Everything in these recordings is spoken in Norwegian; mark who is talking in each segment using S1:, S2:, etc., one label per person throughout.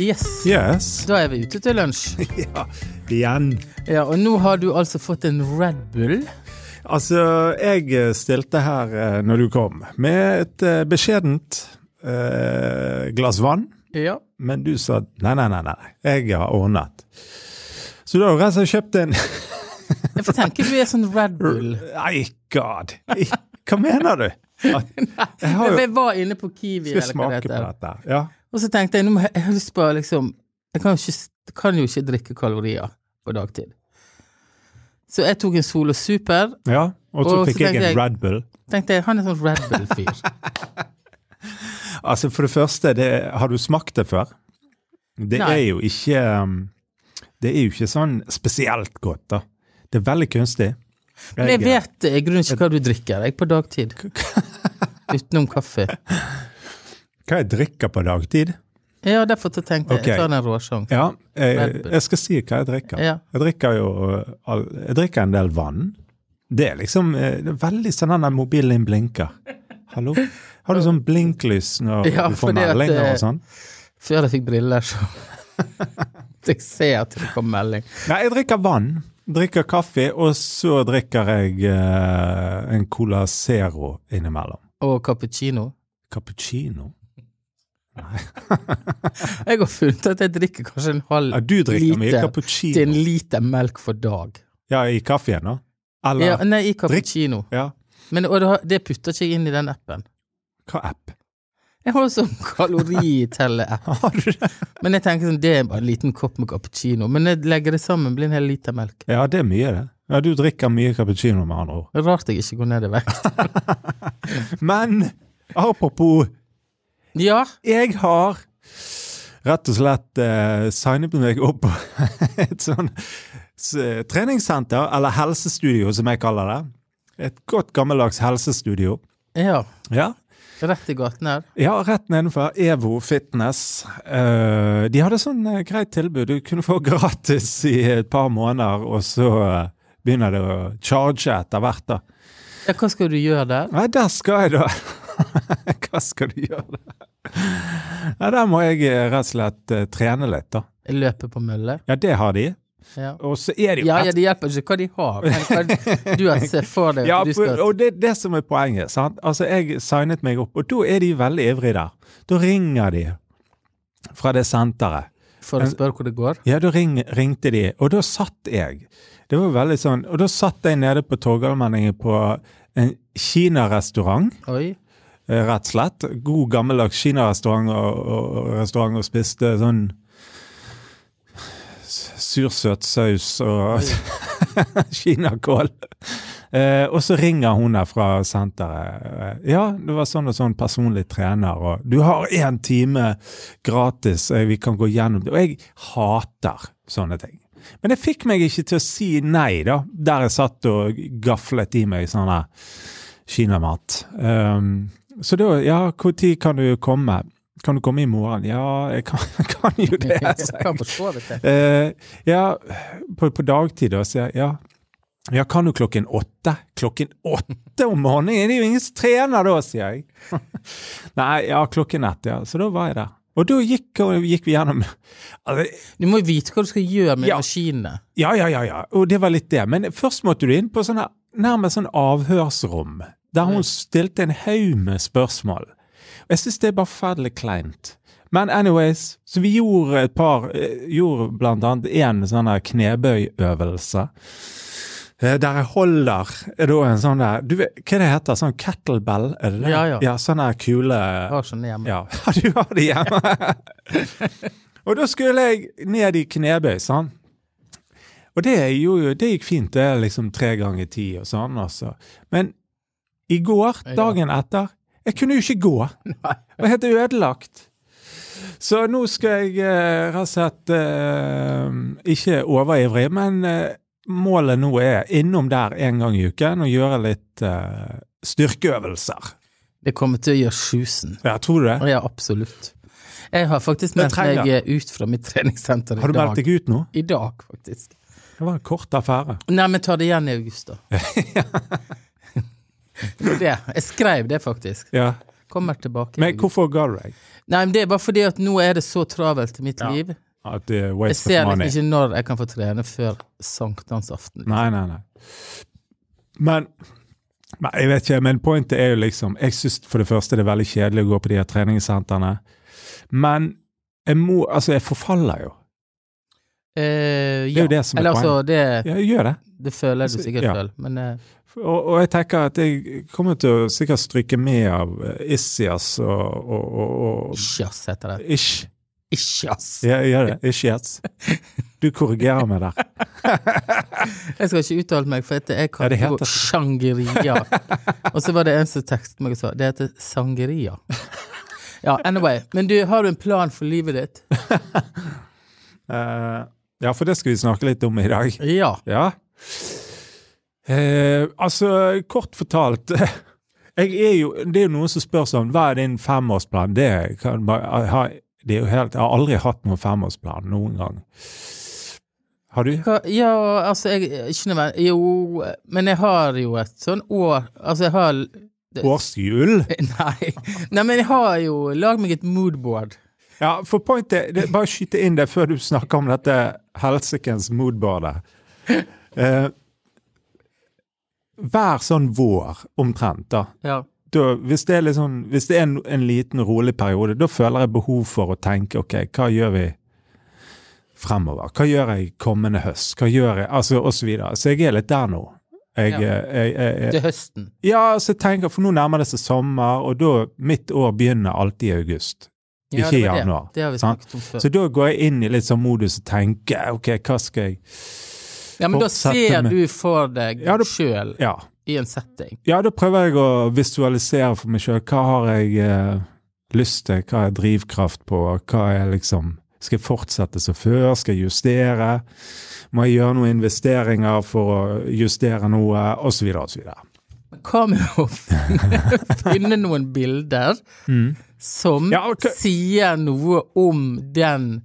S1: Yes.
S2: Yes.
S1: Da er vi ute til lunsj.
S2: Ja, igjen.
S1: Ja, og nå har du altså fått en Red Bull.
S2: Altså, jeg stilte her eh, når du kom, med et eh, beskjedent eh, glass vann.
S1: Ja.
S2: Men du sa nei, nei, nei, nei. jeg har ordnet. Så da har jeg rett og slett kjøpt en
S1: Jeg får tenke du er sånn Red Bull.
S2: Nei, god! I- Hva mener du? At- Jeg har jo
S1: Jeg var inne på Kiwi, eller
S2: Skal
S1: hva det
S2: smake på
S1: heter.
S2: dette. Ja.
S1: Og så tenkte jeg nå må jeg, jeg har lyst på liksom Jeg kan jo ikke, kan jo ikke drikke kalorier på dagtid. Så jeg tok en Solo Super.
S2: ja. Og
S1: Og
S2: så
S1: så
S2: fikk jeg
S1: tenkte jeg-
S2: en Red Bull.
S1: Tenkte jeg, han er sånn Red Bull-fyr.
S2: Altså, for det første, det, har du smakt det før? Det
S1: Nei.
S2: er jo ikke um, Det er jo ikke sånn spesielt godt, da. Det er veldig kunstig. eh,
S1: Men jeg vet eh, i grunnen ikke hva du drikker jeg på dagtid. Utenom kaffe.
S2: Hva jeg drikker på dagtid?
S1: Ja, derfor så tenkte jeg
S2: Ok.
S1: jeg tar en råsjanse.
S2: Ja, jeg,
S1: Red Bull.
S2: jeg skal si hva jeg drikker.
S1: Ja.
S2: Jeg drikker jo uh, all- Jeg drikker en del vann. Det er liksom eh, det er veldig sånn den der mobilen din blinker. Hallo? Har du sånn blinklys når
S1: Ja,
S2: du får
S1: fordi at,
S2: meldinger
S1: eh,
S2: og sånn?
S1: Før jeg fikk briller, så Jeg ser at det kom melding.
S2: Nei, jeg drikker vann. Drikker kaffe, og så drikker jeg eh, en Cola Zero innimellom.
S1: Og cappuccino.
S2: Cappuccino?
S1: Jeg har funnet at jeg drikker kanskje en halv
S2: Ja, du drikker
S1: liter
S2: mye
S1: til en
S2: cappuccino.
S1: liter melk for dag.
S2: Ja, i kaffen, da? Eller
S1: Ja,
S2: ja.
S1: nei, i cappuccino. Men og det har- det putter ikke jeg inn i den appen.
S2: Hva app?
S1: Jeg har jo sånn kaloritelle-app.
S2: Har du det?
S1: Men jeg tenker sånn, det er bare en liten kopp med cappuccino. Men jeg legger det sammen, blir en hel liter melk.
S2: Ja, det er mye, det. Ja, Du drikker mye cappuccino, med andre ord.
S1: Rart jeg ikke går ned i vekt.
S2: Men apropos,
S1: Ja,
S2: jeg har rett og slett eh, signet meg opp på et sånn s- eh, treningssenter, eller helsestudio, som jeg kaller det. Et godt gammeldags helsestudio.
S1: ja.
S2: Ja,
S1: Rett i gaten her.
S2: ja rett nedenfor Evo Fitness. Eh, de hadde sånn eh, greit tilbud. Du kunne få gratis i et par måneder, og så eh, begynner det å charge etter hvert, da.
S1: Ja, hva skal du gjøre der?
S2: Nei, der skal jeg da. Hva skal du gjøre der? Nei, der må jeg eh, rett og slett eh, trene litt, da.
S1: Løpe på mølle?
S2: Ja, det har de.
S1: Ja.
S2: Og så er det jo
S1: Ja, ja, det hjelper ikke hva de har, men hva du har sett for deg.
S2: Ja,
S1: at du
S2: for,
S1: skal...
S2: og det er det som er poenget. sant? Altså, Jeg signet meg opp, og da er de veldig ivrige der. Da ringer de fra det senteret.
S1: For å spørre hvor det går?
S2: Ja, da ring, ringte de, og da satt jeg. Det var veldig sånn, Og da satt jeg nede på Torgallmenningen på en kinarestaurant.
S1: Oi.
S2: eh, rett og slett. God gammeldags kinarestaurant og, og, og restaurant og spiste sånn s- sursøt saus og kinakål. Eh, og så ringer hun der fra senteret. Eh, Ja, det var sånn og sånn personlig trener, og du har én time gratis, eh, vi kan gå gjennom det. Og jeg hater sånne ting. Men det fikk meg ikke til å si nei, da, der jeg satt og gaflet i meg sånn her kinamat. Ehm, så da, ja, når kan du komme? Kan du komme i morgen? Ja, jeg kan, kan jo det. altså. sa jeg.
S1: Kan for så vidt det.
S2: Eh, ja, på, på dagtid da, sier jeg ja. Ja, kan du klokken åtte? Klokken åtte om morgenen? Det er jo ingen som trener da, sier jeg. Nei, ja, klokken ett, ja. Så da var jeg der. Og da gikk, gikk vi gjennom altså,
S1: Du må jo vite hva du skal gjøre med
S2: Ja.
S1: maskinene.
S2: ja, ja, ja, ja. Og det var litt det. Men først måtte du inn på sånne, nærmest sånn avhørsrom, der
S1: Mm.
S2: hun stilte en haug med spørsmål. Og jeg syns det er bare forferdelig kleint. Men anyways, så vi gjorde et par eh, Gjorde blant annet én sånn her knebøyøvelse. eh, Der jeg holder er da en sånn der du vet, Hva det heter Sånn kettlebell? Er det det?
S1: Ja, ja.
S2: ja sånn her kule
S1: Jeg har sånn hjemme.
S2: ja, du har det hjemme. og da skulle jeg ned i knebøy, sånn. Og det, er jo, det gikk fint, det er liksom tre ganger ti og sånn, altså. Men i går,
S1: Ja.
S2: dagen etter, jeg kunne jo ikke gå. Og helt ødelagt. Så nå skal jeg eh, rett og slett eh, ikke overivrig, men eh, målet nå er innom der en gang i uken og gjøre litt eh, styrkeøvelser.
S1: Det kommer til å gjøre sjusen.
S2: Ja, tror du det?
S1: Ja, absolutt. Jeg har faktisk
S2: Det
S1: meldt
S2: trenger.
S1: meg eh, ut fra mitt treningssenter i
S2: Har du
S1: dag.
S2: meldt deg ut nå?
S1: I dag, faktisk.
S2: Det var en kort affære.
S1: Nei, men ta det igjen i august, da. Det var det. Jeg skrev det, faktisk.
S2: Ja.
S1: Kommer tilbake.
S2: Men hvorfor ga du deg?
S1: Nei, men Det er bare fordi at nå er det så travelt i mitt
S2: Ja.
S1: liv.
S2: At det er
S1: Jeg
S2: waste
S1: ser liksom
S2: of money? Mm.
S1: ikke når jeg kan få trene før sankthansaften.
S2: Nei, nei, nei. Men Nei, jeg vet ikke, men pointet er jo liksom Jeg syns for det første det er veldig kjedelig å gå på de her treningssentrene. Men jeg må Altså, jeg forfaller jo.
S1: Eh,
S2: Det er jo det som er
S1: Eller altså, det,
S2: Ja, jeg gjør det.
S1: det føler du
S2: Altså,
S1: sikkert
S2: ja.
S1: selv, men eh,
S2: Og, og jeg tenker at jeg kommer til å sikkert stryke med av eh, Issias og, og, og, og
S1: Isjas heter det.
S2: Ish.
S1: Isjas!
S2: Ja, jeg gjør det. Ishias. Du korrigerer meg der.
S1: Jeg skal ikke uttale meg, for dette er
S2: Ja, det heter-
S1: kategori Shangeria. Og så var det en som tekstet meg og sa det heter Sangeria. Ja, anyway. Men du, har du en plan for livet ditt?
S2: Eh, ja, for det skal vi snakke litt om i dag.
S1: Ja.
S2: Ja. Eh, altså, kort fortalt jeg er jo, Det er jo noen som spør sånn Hva er din femårsplan? Det, kan, man- jeg har- det er jo helt, Jeg har aldri hatt noen femårsplan noen gang. Har du?
S1: Hva, ja, altså, jeg ikke nødvendig Jo, men jeg har jo et sånn år Altså, jeg har
S2: Årshjul?
S1: Nei. Nei, men jeg har jo Lag meg et moodboard.
S2: Ja, for pointet det, Bare skyte inn det før du snakker om dette helsikens moodboardet. Eh, hver sånn vår, omtrent, da.
S1: Ja.
S2: da hvis det er, litt sånn- hvis det er en, en liten, rolig periode, da føler jeg behov for å tenke ok, hva gjør vi fremover? Hva gjør jeg kommende høst? Hva gjør jeg Altså, og så videre. Så jeg er litt der nå. Jeg, eh,
S1: Ja.
S2: jeg, jeg, jeg,
S1: Til høsten.
S2: ja, så jeg tenker, for nå nærmer det seg sommer, og da mitt år begynner alltid i august.
S1: Ja,
S2: Ikke i
S1: det var det.
S2: januar,
S1: Det har vi
S2: sant?
S1: snakket om før.
S2: Så da går jeg inn i litt sånn modus og tenker ok, hva skal jeg
S1: Ja, men da
S2: fortsette
S1: ser
S2: med?
S1: du for deg
S2: Ja, da-
S1: sjøl
S2: Ja.
S1: i en setting.
S2: ja, da prøver jeg å visualisere for meg sjøl. Hva har jeg eh, lyst til? Hva er drivkraft på? Hva er liksom Skal jeg fortsette som før? Skal jeg justere? Må jeg gjøre noen investeringer for å justere noe? Og så videre og så videre.
S1: Men hva med å finne- finne noen bilder som
S2: Mm. Ja, ok.
S1: sier noe om den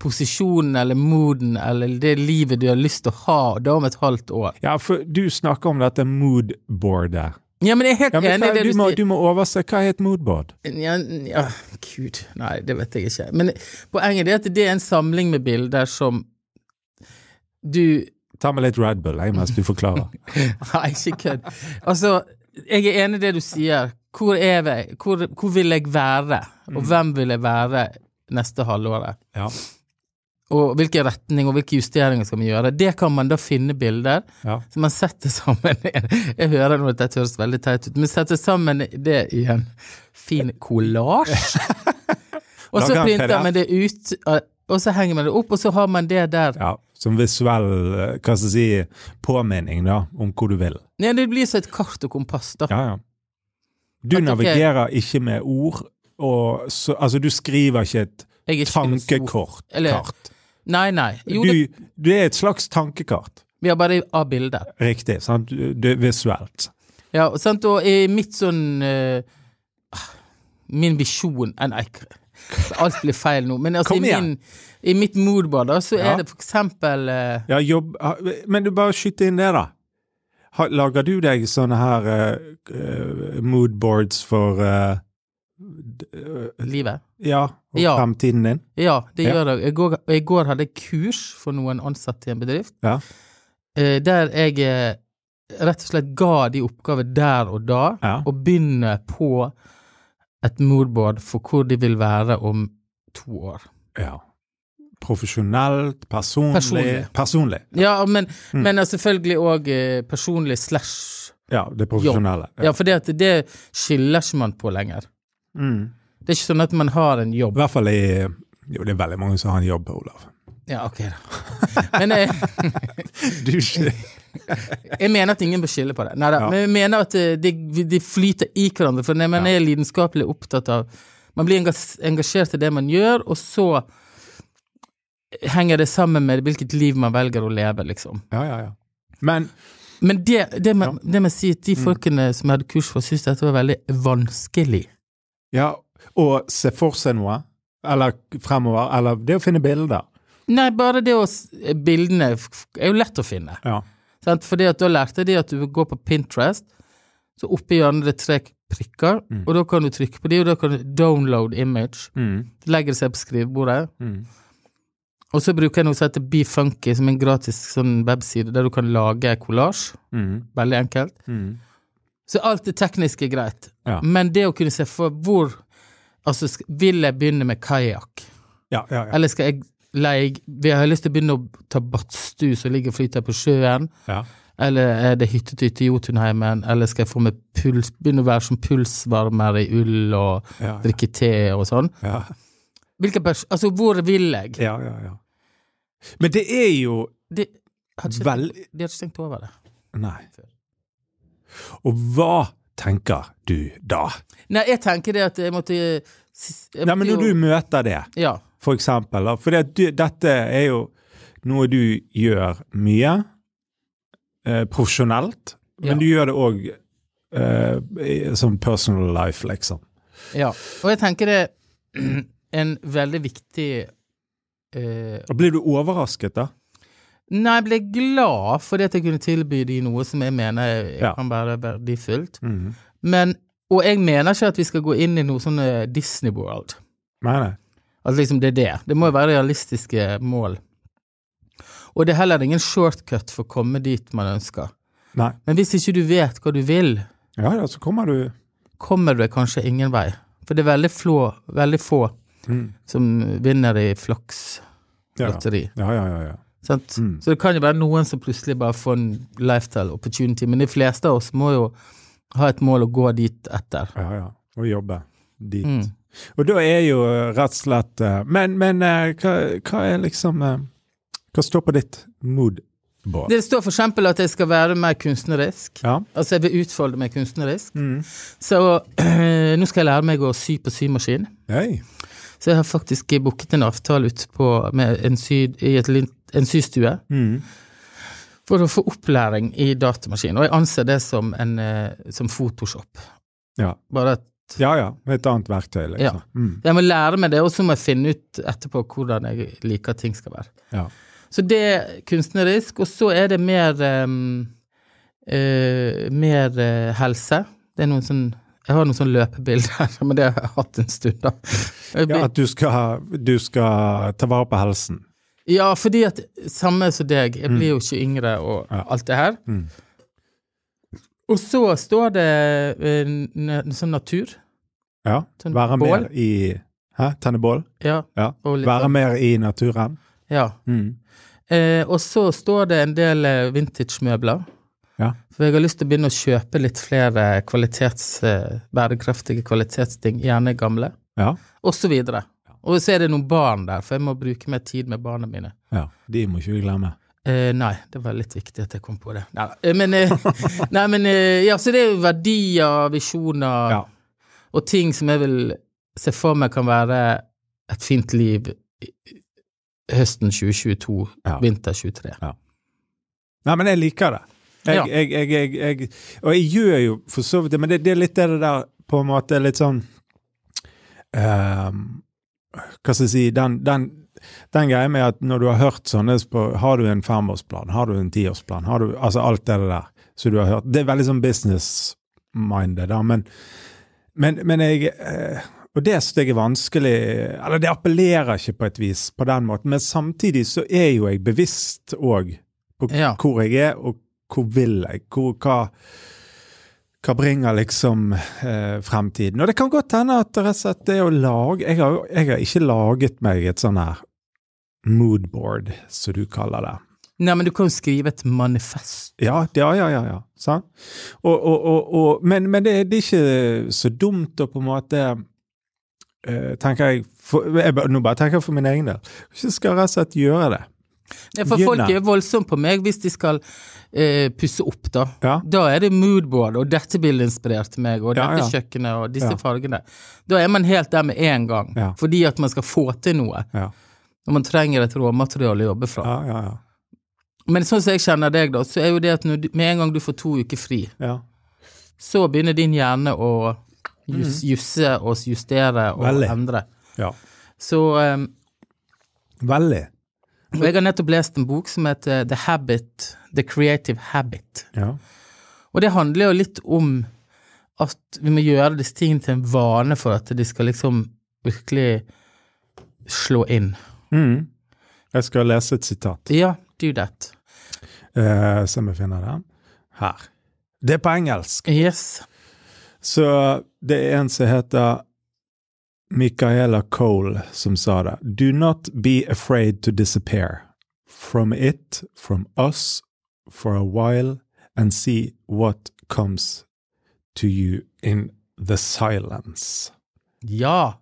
S1: posisjonen eller mooden eller det livet du har lyst til å ha, og da om et halvt år?
S2: Ja, for du snakker om dette moodboardet.
S1: Ja, men jeg er helt
S2: Ja, men
S1: enig
S2: hva,
S1: i det
S2: du,
S1: du,
S2: må,
S1: sier.
S2: du må overse hva er et moodboard?
S1: Ja, ja, gud, nei, det vet jeg ikke. Men poenget er at det er en samling med bilder som du
S2: Ta med litt Red Bull jeg, mens du forklarer.
S1: Nei, ikke kødd. Altså, jeg er enig i det du sier. Hvor er jeg? Hvor, hvor vil jeg være?
S2: Mm.
S1: Og hvem vil jeg være neste halvåret?
S2: Ja.
S1: Og hvilken retning og hvilke justeringer skal vi gjøre? Det kan man da finne bilder
S2: Ja.
S1: som man setter sammen Jeg hører nå at dette høres veldig teit ut, men setter sammen det i en fin kollasj. Og så
S2: Lager en
S1: printer
S2: PDF.
S1: man det ut, og så henger man det opp, og så har man det der.
S2: ja. Som visuell eh, hva skal jeg si, påminning da, om hvor du vil.
S1: Nei, det blir så et kart og kompass, da.
S2: Ja, ja. Du
S1: At, ok.
S2: navigerer ikke med ord, og så, altså du skriver ikke et
S1: Jeg er ikke filosof.
S2: tankekort.
S1: Eller-
S2: kart.
S1: Nei, nei. Jo, det,
S2: Du, du er et slags tankekart.
S1: vi har bare av bilder.
S2: Riktig. sant? Du- Det er visuelt.
S1: Ja, og sant, og i mitt sånn eh, Min visjon eh, Nei, k- alt blir feil nå, men altså,
S2: Kom
S1: i,
S2: igjen.
S1: min, i mitt moodboard da, så
S2: Ja.
S1: er det for eksempel eh,
S2: Ja, jobb ha- Men du bare skyter inn det, da. Ha- Lager du deg sånne her eh, eh, moodboards for eh, d- eh,
S1: livet.
S2: Ja, og
S1: Ja.
S2: fremtiden din?
S1: Ja, det
S2: Ja.
S1: gjør jeg. I går, I går hadde jeg kurs for noen ansatte i en bedrift,
S2: Ja.
S1: eh, der jeg eh, rett og slett ga de oppgaver der og da,
S2: Ja.
S1: og begynne på et moodboard for hvor de vil være om to år.
S2: ja. Profesjonelt, personlig Personlig.
S1: Personlig. Ja, men,
S2: Mm.
S1: men eh, selvfølgelig òg eh, personlig slash
S2: Ja, det profesjonelle.
S1: Ja, for det, at det skiller ikke man på lenger.
S2: Mm.
S1: Det er ikke sånn at man har en
S2: I
S1: jobb.
S2: hvert fall i Jo, det er veldig mange som har en jobb, Olav.
S1: Ja, ok da. Men jeg,
S2: Du,
S1: jeg mener at ingen bør skille på det. Neida,
S2: Ja.
S1: Men jeg mener at eh, de, de flyter i hverandre, for man er lidenskapelig opptatt av Man blir engas- engasjert i det man gjør, og så henger det sammen med hvilket liv man velger å leve, liksom.
S2: ja, ja, ja. Men
S1: Men det, det, med, det med å si at de folkene som jeg hadde kurs for, syntes dette var veldig vanskelig.
S2: Ja, og se for seg noe. Eller fremover. Eller det å finne bilder.
S1: Nei, bare det å s- Bildene f- f- er jo lett å finne.
S2: Ja.
S1: Sant? Fordi at da lærte de at du går på Pinterest, så oppe i hjørnet er det tre prikker,
S2: Mm.
S1: og da kan du trykke på de, og da kan du download image.
S2: Mm.
S1: Legger det seg på skrivebordet.
S2: Mm.
S1: Og så bruker jeg noe som heter BeFunky, som er en gratis sånn webside der du kan lage kollasj.
S2: Mm.
S1: Veldig enkelt.
S2: Mm.
S1: Så alt det tekniske er greit.
S2: Ja.
S1: Men det å kunne se for hvor Altså, sk- vil jeg begynne med kajakk?
S2: Ja, ja, ja.
S1: Eller skal jeg leie Vi har lyst til å begynne å ta badstue som ligger og flyter på sjøen.
S2: ja.
S1: Eller er det hyttetyte i Jotunheimen? Eller skal jeg få med puls, begynne å være som pulsvarmer i ull og
S2: Ja, ja.
S1: drikke te og sånn?
S2: ja.
S1: Hvilke pers... Altså, hvor vil jeg?
S2: Ja, ja, ja. Men det er jo
S1: De, hadde ikke,
S2: Vel-
S1: tenkt- de hadde ikke tenkt over det.
S2: Nei. Og hva tenker du da?
S1: Nei, jeg tenker det at jeg måtte jeg
S2: Nei, men
S1: måtte
S2: når
S1: jo-
S2: du møter det,
S1: Ja.
S2: for eksempel, da, for det, at du, dette er jo noe du gjør mye eh, profesjonelt, men
S1: Ja.
S2: du gjør det òg eh, i- som personal life, liksom.
S1: ja. Og jeg tenker det er en veldig viktig eh,
S2: Og blir du overrasket, da?
S1: Nei, jeg ble glad fordi at jeg kunne tilby de noe som jeg mener jeg
S2: Ja.
S1: kan være verdifullt.
S2: Mhm.
S1: Men, og jeg mener ikke at vi skal gå inn i noe sånn eh, Disney World.
S2: Nei, nei.
S1: Altså liksom det er det. Det må jo være realistiske mål. Og det er heller ingen shortcut for å komme dit man ønsker.
S2: nei.
S1: Men hvis ikke du vet hva du vil,
S2: Ja, ja, så kommer du
S1: kommer du kanskje ingen vei. For det er veldig, flå, veldig få
S2: Mhm.
S1: som vinner i
S2: ja, ja.
S1: flakslotteri.
S2: ja, ja, ja, ja.
S1: Sant?
S2: Mm.
S1: Så det kan jo være noen som plutselig bare får en lifestyle opportunity, men de fleste av oss må jo ha et mål å gå dit etter.
S2: ja, ja. Og jobbe dit.
S1: Mm.
S2: Og da er jo eh, rett og slett eh, Men, men eh, hva, hva er liksom eh, Hva står på ditt moodboard?
S1: Det står for eksempel at jeg skal være mer kunstnerisk.
S2: Ja.
S1: Altså jeg vil utfolde meg kunstnerisk.
S2: Mm.
S1: Så nå skal jeg lære meg å sy på symaskin.
S2: Hei.
S1: Så jeg har faktisk booket en avtale ut på, med en, sy, i et, lin- en systue
S2: Mm.
S1: for å få opplæring i datamaskin. Og jeg anser det som, en, eh, som Photoshop.
S2: Ja.
S1: Bare at
S2: ja ja. Med et annet verktøy,
S1: Ja.
S2: liksom. Mm.
S1: Jeg må lære meg det, og så må jeg finne ut etterpå hvordan jeg liker at ting skal være.
S2: Ja.
S1: Så det er kunstnerisk, og så er det mer ehm, eh, mer eh, helse. Det er noen sånn Jeg har noen sånn løpebilder, men det har jeg hatt en stund, da. Jeg
S2: ja
S1: blir-
S2: at du skal, du skal ta vare på helsen.
S1: ja, fordi at samme som deg, jeg blir jo ikke yngre og
S2: Mm. Ja.
S1: alt det her.
S2: Mm.
S1: Og så står det eh, n- sånn natur.
S2: Ja.
S1: Tenne
S2: Være
S1: bål.
S2: mer i Hæ? Tenne bål?
S1: Ja.
S2: Ja.
S1: Og litt, sånn.
S2: Være mer i naturen?
S1: ja.
S2: Mm.
S1: Eh, og så står det en del eh, vintage-møbler.
S2: Ja.
S1: For jeg har lyst til å begynne å kjøpe litt flere kvalitets, eh, bærekraftige kvalitetsting, gjerne gamle,
S2: Ja.
S1: og så videre. Og så er det noen barn der, for jeg må bruke mer tid med barna mine.
S2: ja. De må ikke vi glemme.
S1: Eh, nei, det var litt viktig at jeg kom på det. Nei, da. Eh, men, eh, nei, men eh, ja, så det er jo verdier, visjoner
S2: Ja.
S1: og ting som jeg vil se for meg kan være et fint liv i- i- høsten 2022,
S2: Ja.
S1: vinter 23.
S2: Nei, men jeg liker det. Jeg,
S1: Ja.
S2: jeg, jeg, jeg, jeg, og jeg gjør jo for så vidt det, men det, det er litt det der på en måte litt sånn ehm, Hva skal jeg si Den, den, den greia med at når du har hørt sånne på- Har du en femårsplan? Har du en tiårsplan? Har du Altså alt det der som du har hørt. Det er veldig sånn business-minded, da, men, men, men jeg eh, og det syns jeg er vanskelig Eller det appellerer ikke på et vis på den måten, men samtidig så er jo jeg bevisst òg på
S1: Ja.
S2: hvor jeg er, og hvor vil jeg? Hvor, hva, hva bringer liksom eh, fremtiden? Og det kan godt hende at det, rett og slett det å lage jeg har, jo- jeg har ikke laget meg et sånn her moodboard, som du kaller det.
S1: Nei, men du kan jo skrive et manifest.
S2: Ja, ja, ja. ja, ja. Sant? Og, og, og, og, men men det, det er ikke så dumt å på en måte eh, tenker jeg, for, jeg bare- Nå bare tenker jeg for min egen del. Ikke skal rett og slett gjøre det.
S1: Ja, for
S2: Begynner.
S1: folk er voldsomme på meg hvis de skal eh, pusse opp, da.
S2: Ja.
S1: Da er det moodboard, og dette bildet inspirerte meg, og
S2: Ja,
S1: dette
S2: ja.
S1: kjøkkenet, og disse
S2: Ja.
S1: fargene. Da er man helt der med en gang,
S2: Ja.
S1: fordi at man skal få til noe.
S2: Ja,
S1: Når man trenger et råmateriale å jobbe fra.
S2: ja, ja. ja.
S1: Men sånn som jeg kjenner deg, da, så er jo det at når du, med en gang du får to uker fri,
S2: ja.
S1: så begynner din hjerne å jus, jusse og justere og
S2: Mm. Veldig.
S1: endre.
S2: ja.
S1: Så eh,
S2: Veldig.
S1: Og jeg har nettopp lest en bok som heter eh, The Habit, The Creative Habit.
S2: Ja.
S1: Og det handler jo litt om at vi må gjøre disse tingene til en vane for at de skal liksom virkelig slå inn.
S2: Mm. Jeg skal lese et sitat,
S1: Ja, do that.
S2: eh, som jeg finner der. Her. Det er på engelsk.
S1: Yes.
S2: Så det er en som heter Michaela Cole som sa det. Do not be afraid to disappear. From it, from us, for a while, and see what comes to you in the silence.
S1: Ja.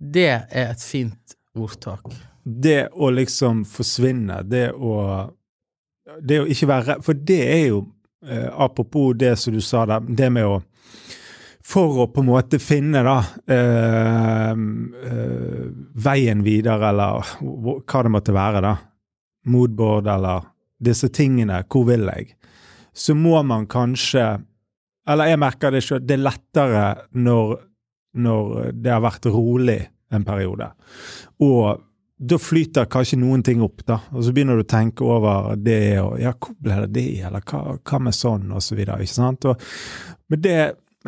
S1: Det er et fint ordtak.
S2: Det å liksom forsvinne, det å Det å ikke være redd For det er jo, eh, apropos det som du sa der, det med å For å på en måte finne da eh, eh, veien videre, eller hva- hva det måtte være, da. Moodboard eller disse tingene. Hvor vil jeg? Så må man kanskje Eller jeg merker det sjøl, det er lettere når, når det har vært rolig en periode. Og da flyter kanskje noen ting opp, da. Og så begynner du å tenke over det, og ja, hvor ble det det, eller hva, hva med sånn, og så videre. ikke sant? Og, men det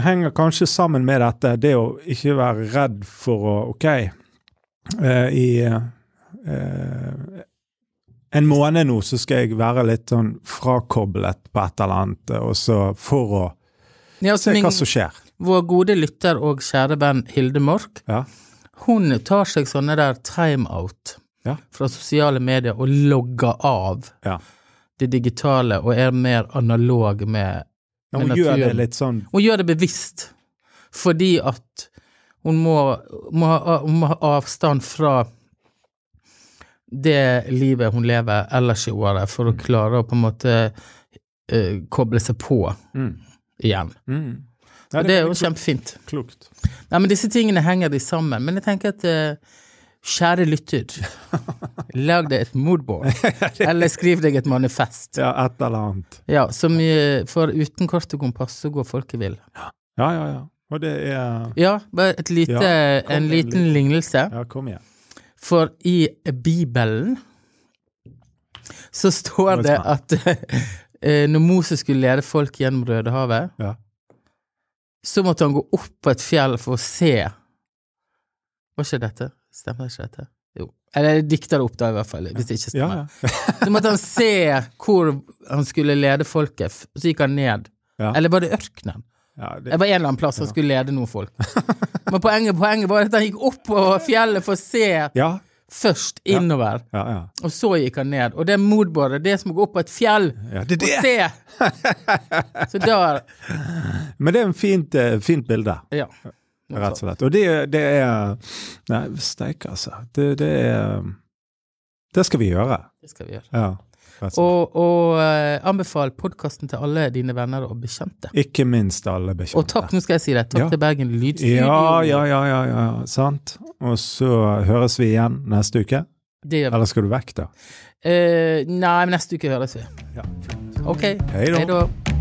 S2: henger kanskje sammen med dette, det å ikke være redd for å Ok, eh, i eh, en måned nå så skal jeg være litt sånn frakoblet på et eller annet, og så for å
S1: Ja,
S2: se
S1: altså min,
S2: hva som skjer.
S1: vår gode lytter og kjære venn Hilde Mork,
S2: Ja.
S1: hun tar seg sånne der timeout
S2: Ja.
S1: fra sosiale medier og logger av
S2: Ja.
S1: det digitale og er mer analog med
S2: Ja, hun
S1: Men
S2: gjør det
S1: naturen-
S2: litt sånn
S1: Hun gjør det bevisst, fordi at hun må, må, ha, hun må ha avstand fra det livet hun lever ellers i året, for å klare å på en måte eh, koble seg på
S2: mm.
S1: igjen.
S2: Mm. Ja,
S1: Og det er jo kjempefint.
S2: klokt.
S1: Nei, men disse tingene henger de sammen. Men jeg tenker at eh, kjære lytter, lag deg et moodboard, eller skriv deg et manifest.
S2: Ja, et eller annet.
S1: Ja, som, eh, for uten kort og kompass så går folket vill.
S2: Ja, ja, ja. Og det er
S1: Ja, bare et lite, eh,
S2: Ja, kom
S1: en
S2: med
S1: liten
S2: en
S1: lignelse.
S2: Ja, kom igjen.
S1: For i Bibelen så står
S2: Nå er
S1: det
S2: jeg
S1: at eh, når Moses skulle lede folk gjennom Rødehavet,
S2: Ja.
S1: så måtte han gå opp på et fjell for å se. Var ikke dette? Stemmer ikke dette? Jo. Eller jeg dikter det opp da, i hvert fall. Hvis det ikke
S2: Ja,
S1: stemmer.
S2: ja.
S1: Så måtte han se hvor han skulle lede folket. f- Så gikk han ned.
S2: Ja.
S1: Eller var det ørkenen?
S2: ja
S1: Det
S2: det,
S1: var en eller annen plass han skulle lede noen folk. Men poenget, poenget var at han gikk opp på fjellet for å se
S2: ja,
S1: først innover,
S2: ja, ja.
S1: og så gikk han ned. Og det moodboardet, det er som å gå opp på et fjell
S2: ja det,
S1: og
S2: er det.
S1: se! Så da
S2: Men det er en fint, eh, fint bilde,
S1: Ja.
S2: rett og slett. Og det, det er Nei, steike, altså. Det, det er Det skal vi gjøre.
S1: Det skal vi gjøre.
S2: Ja. Rett og slett.
S1: Og, og eh, anbefal podkasten til alle dine venner og bekjente.
S2: Ikke minst alle
S1: Og
S2: bekjente.
S1: takk, nå skal jeg si det, takk
S2: Ja.
S1: til Bergen Lydstudio.
S2: Ja, ja, ja, ja, ja, sant. Og så høres vi igjen neste uke.
S1: Det gjør vi.
S2: Eller skal du vekk, da?
S1: Eh, nei, men neste uke høres vi.
S2: Ja.
S1: Ok.
S2: Hei da.
S1: Hei da.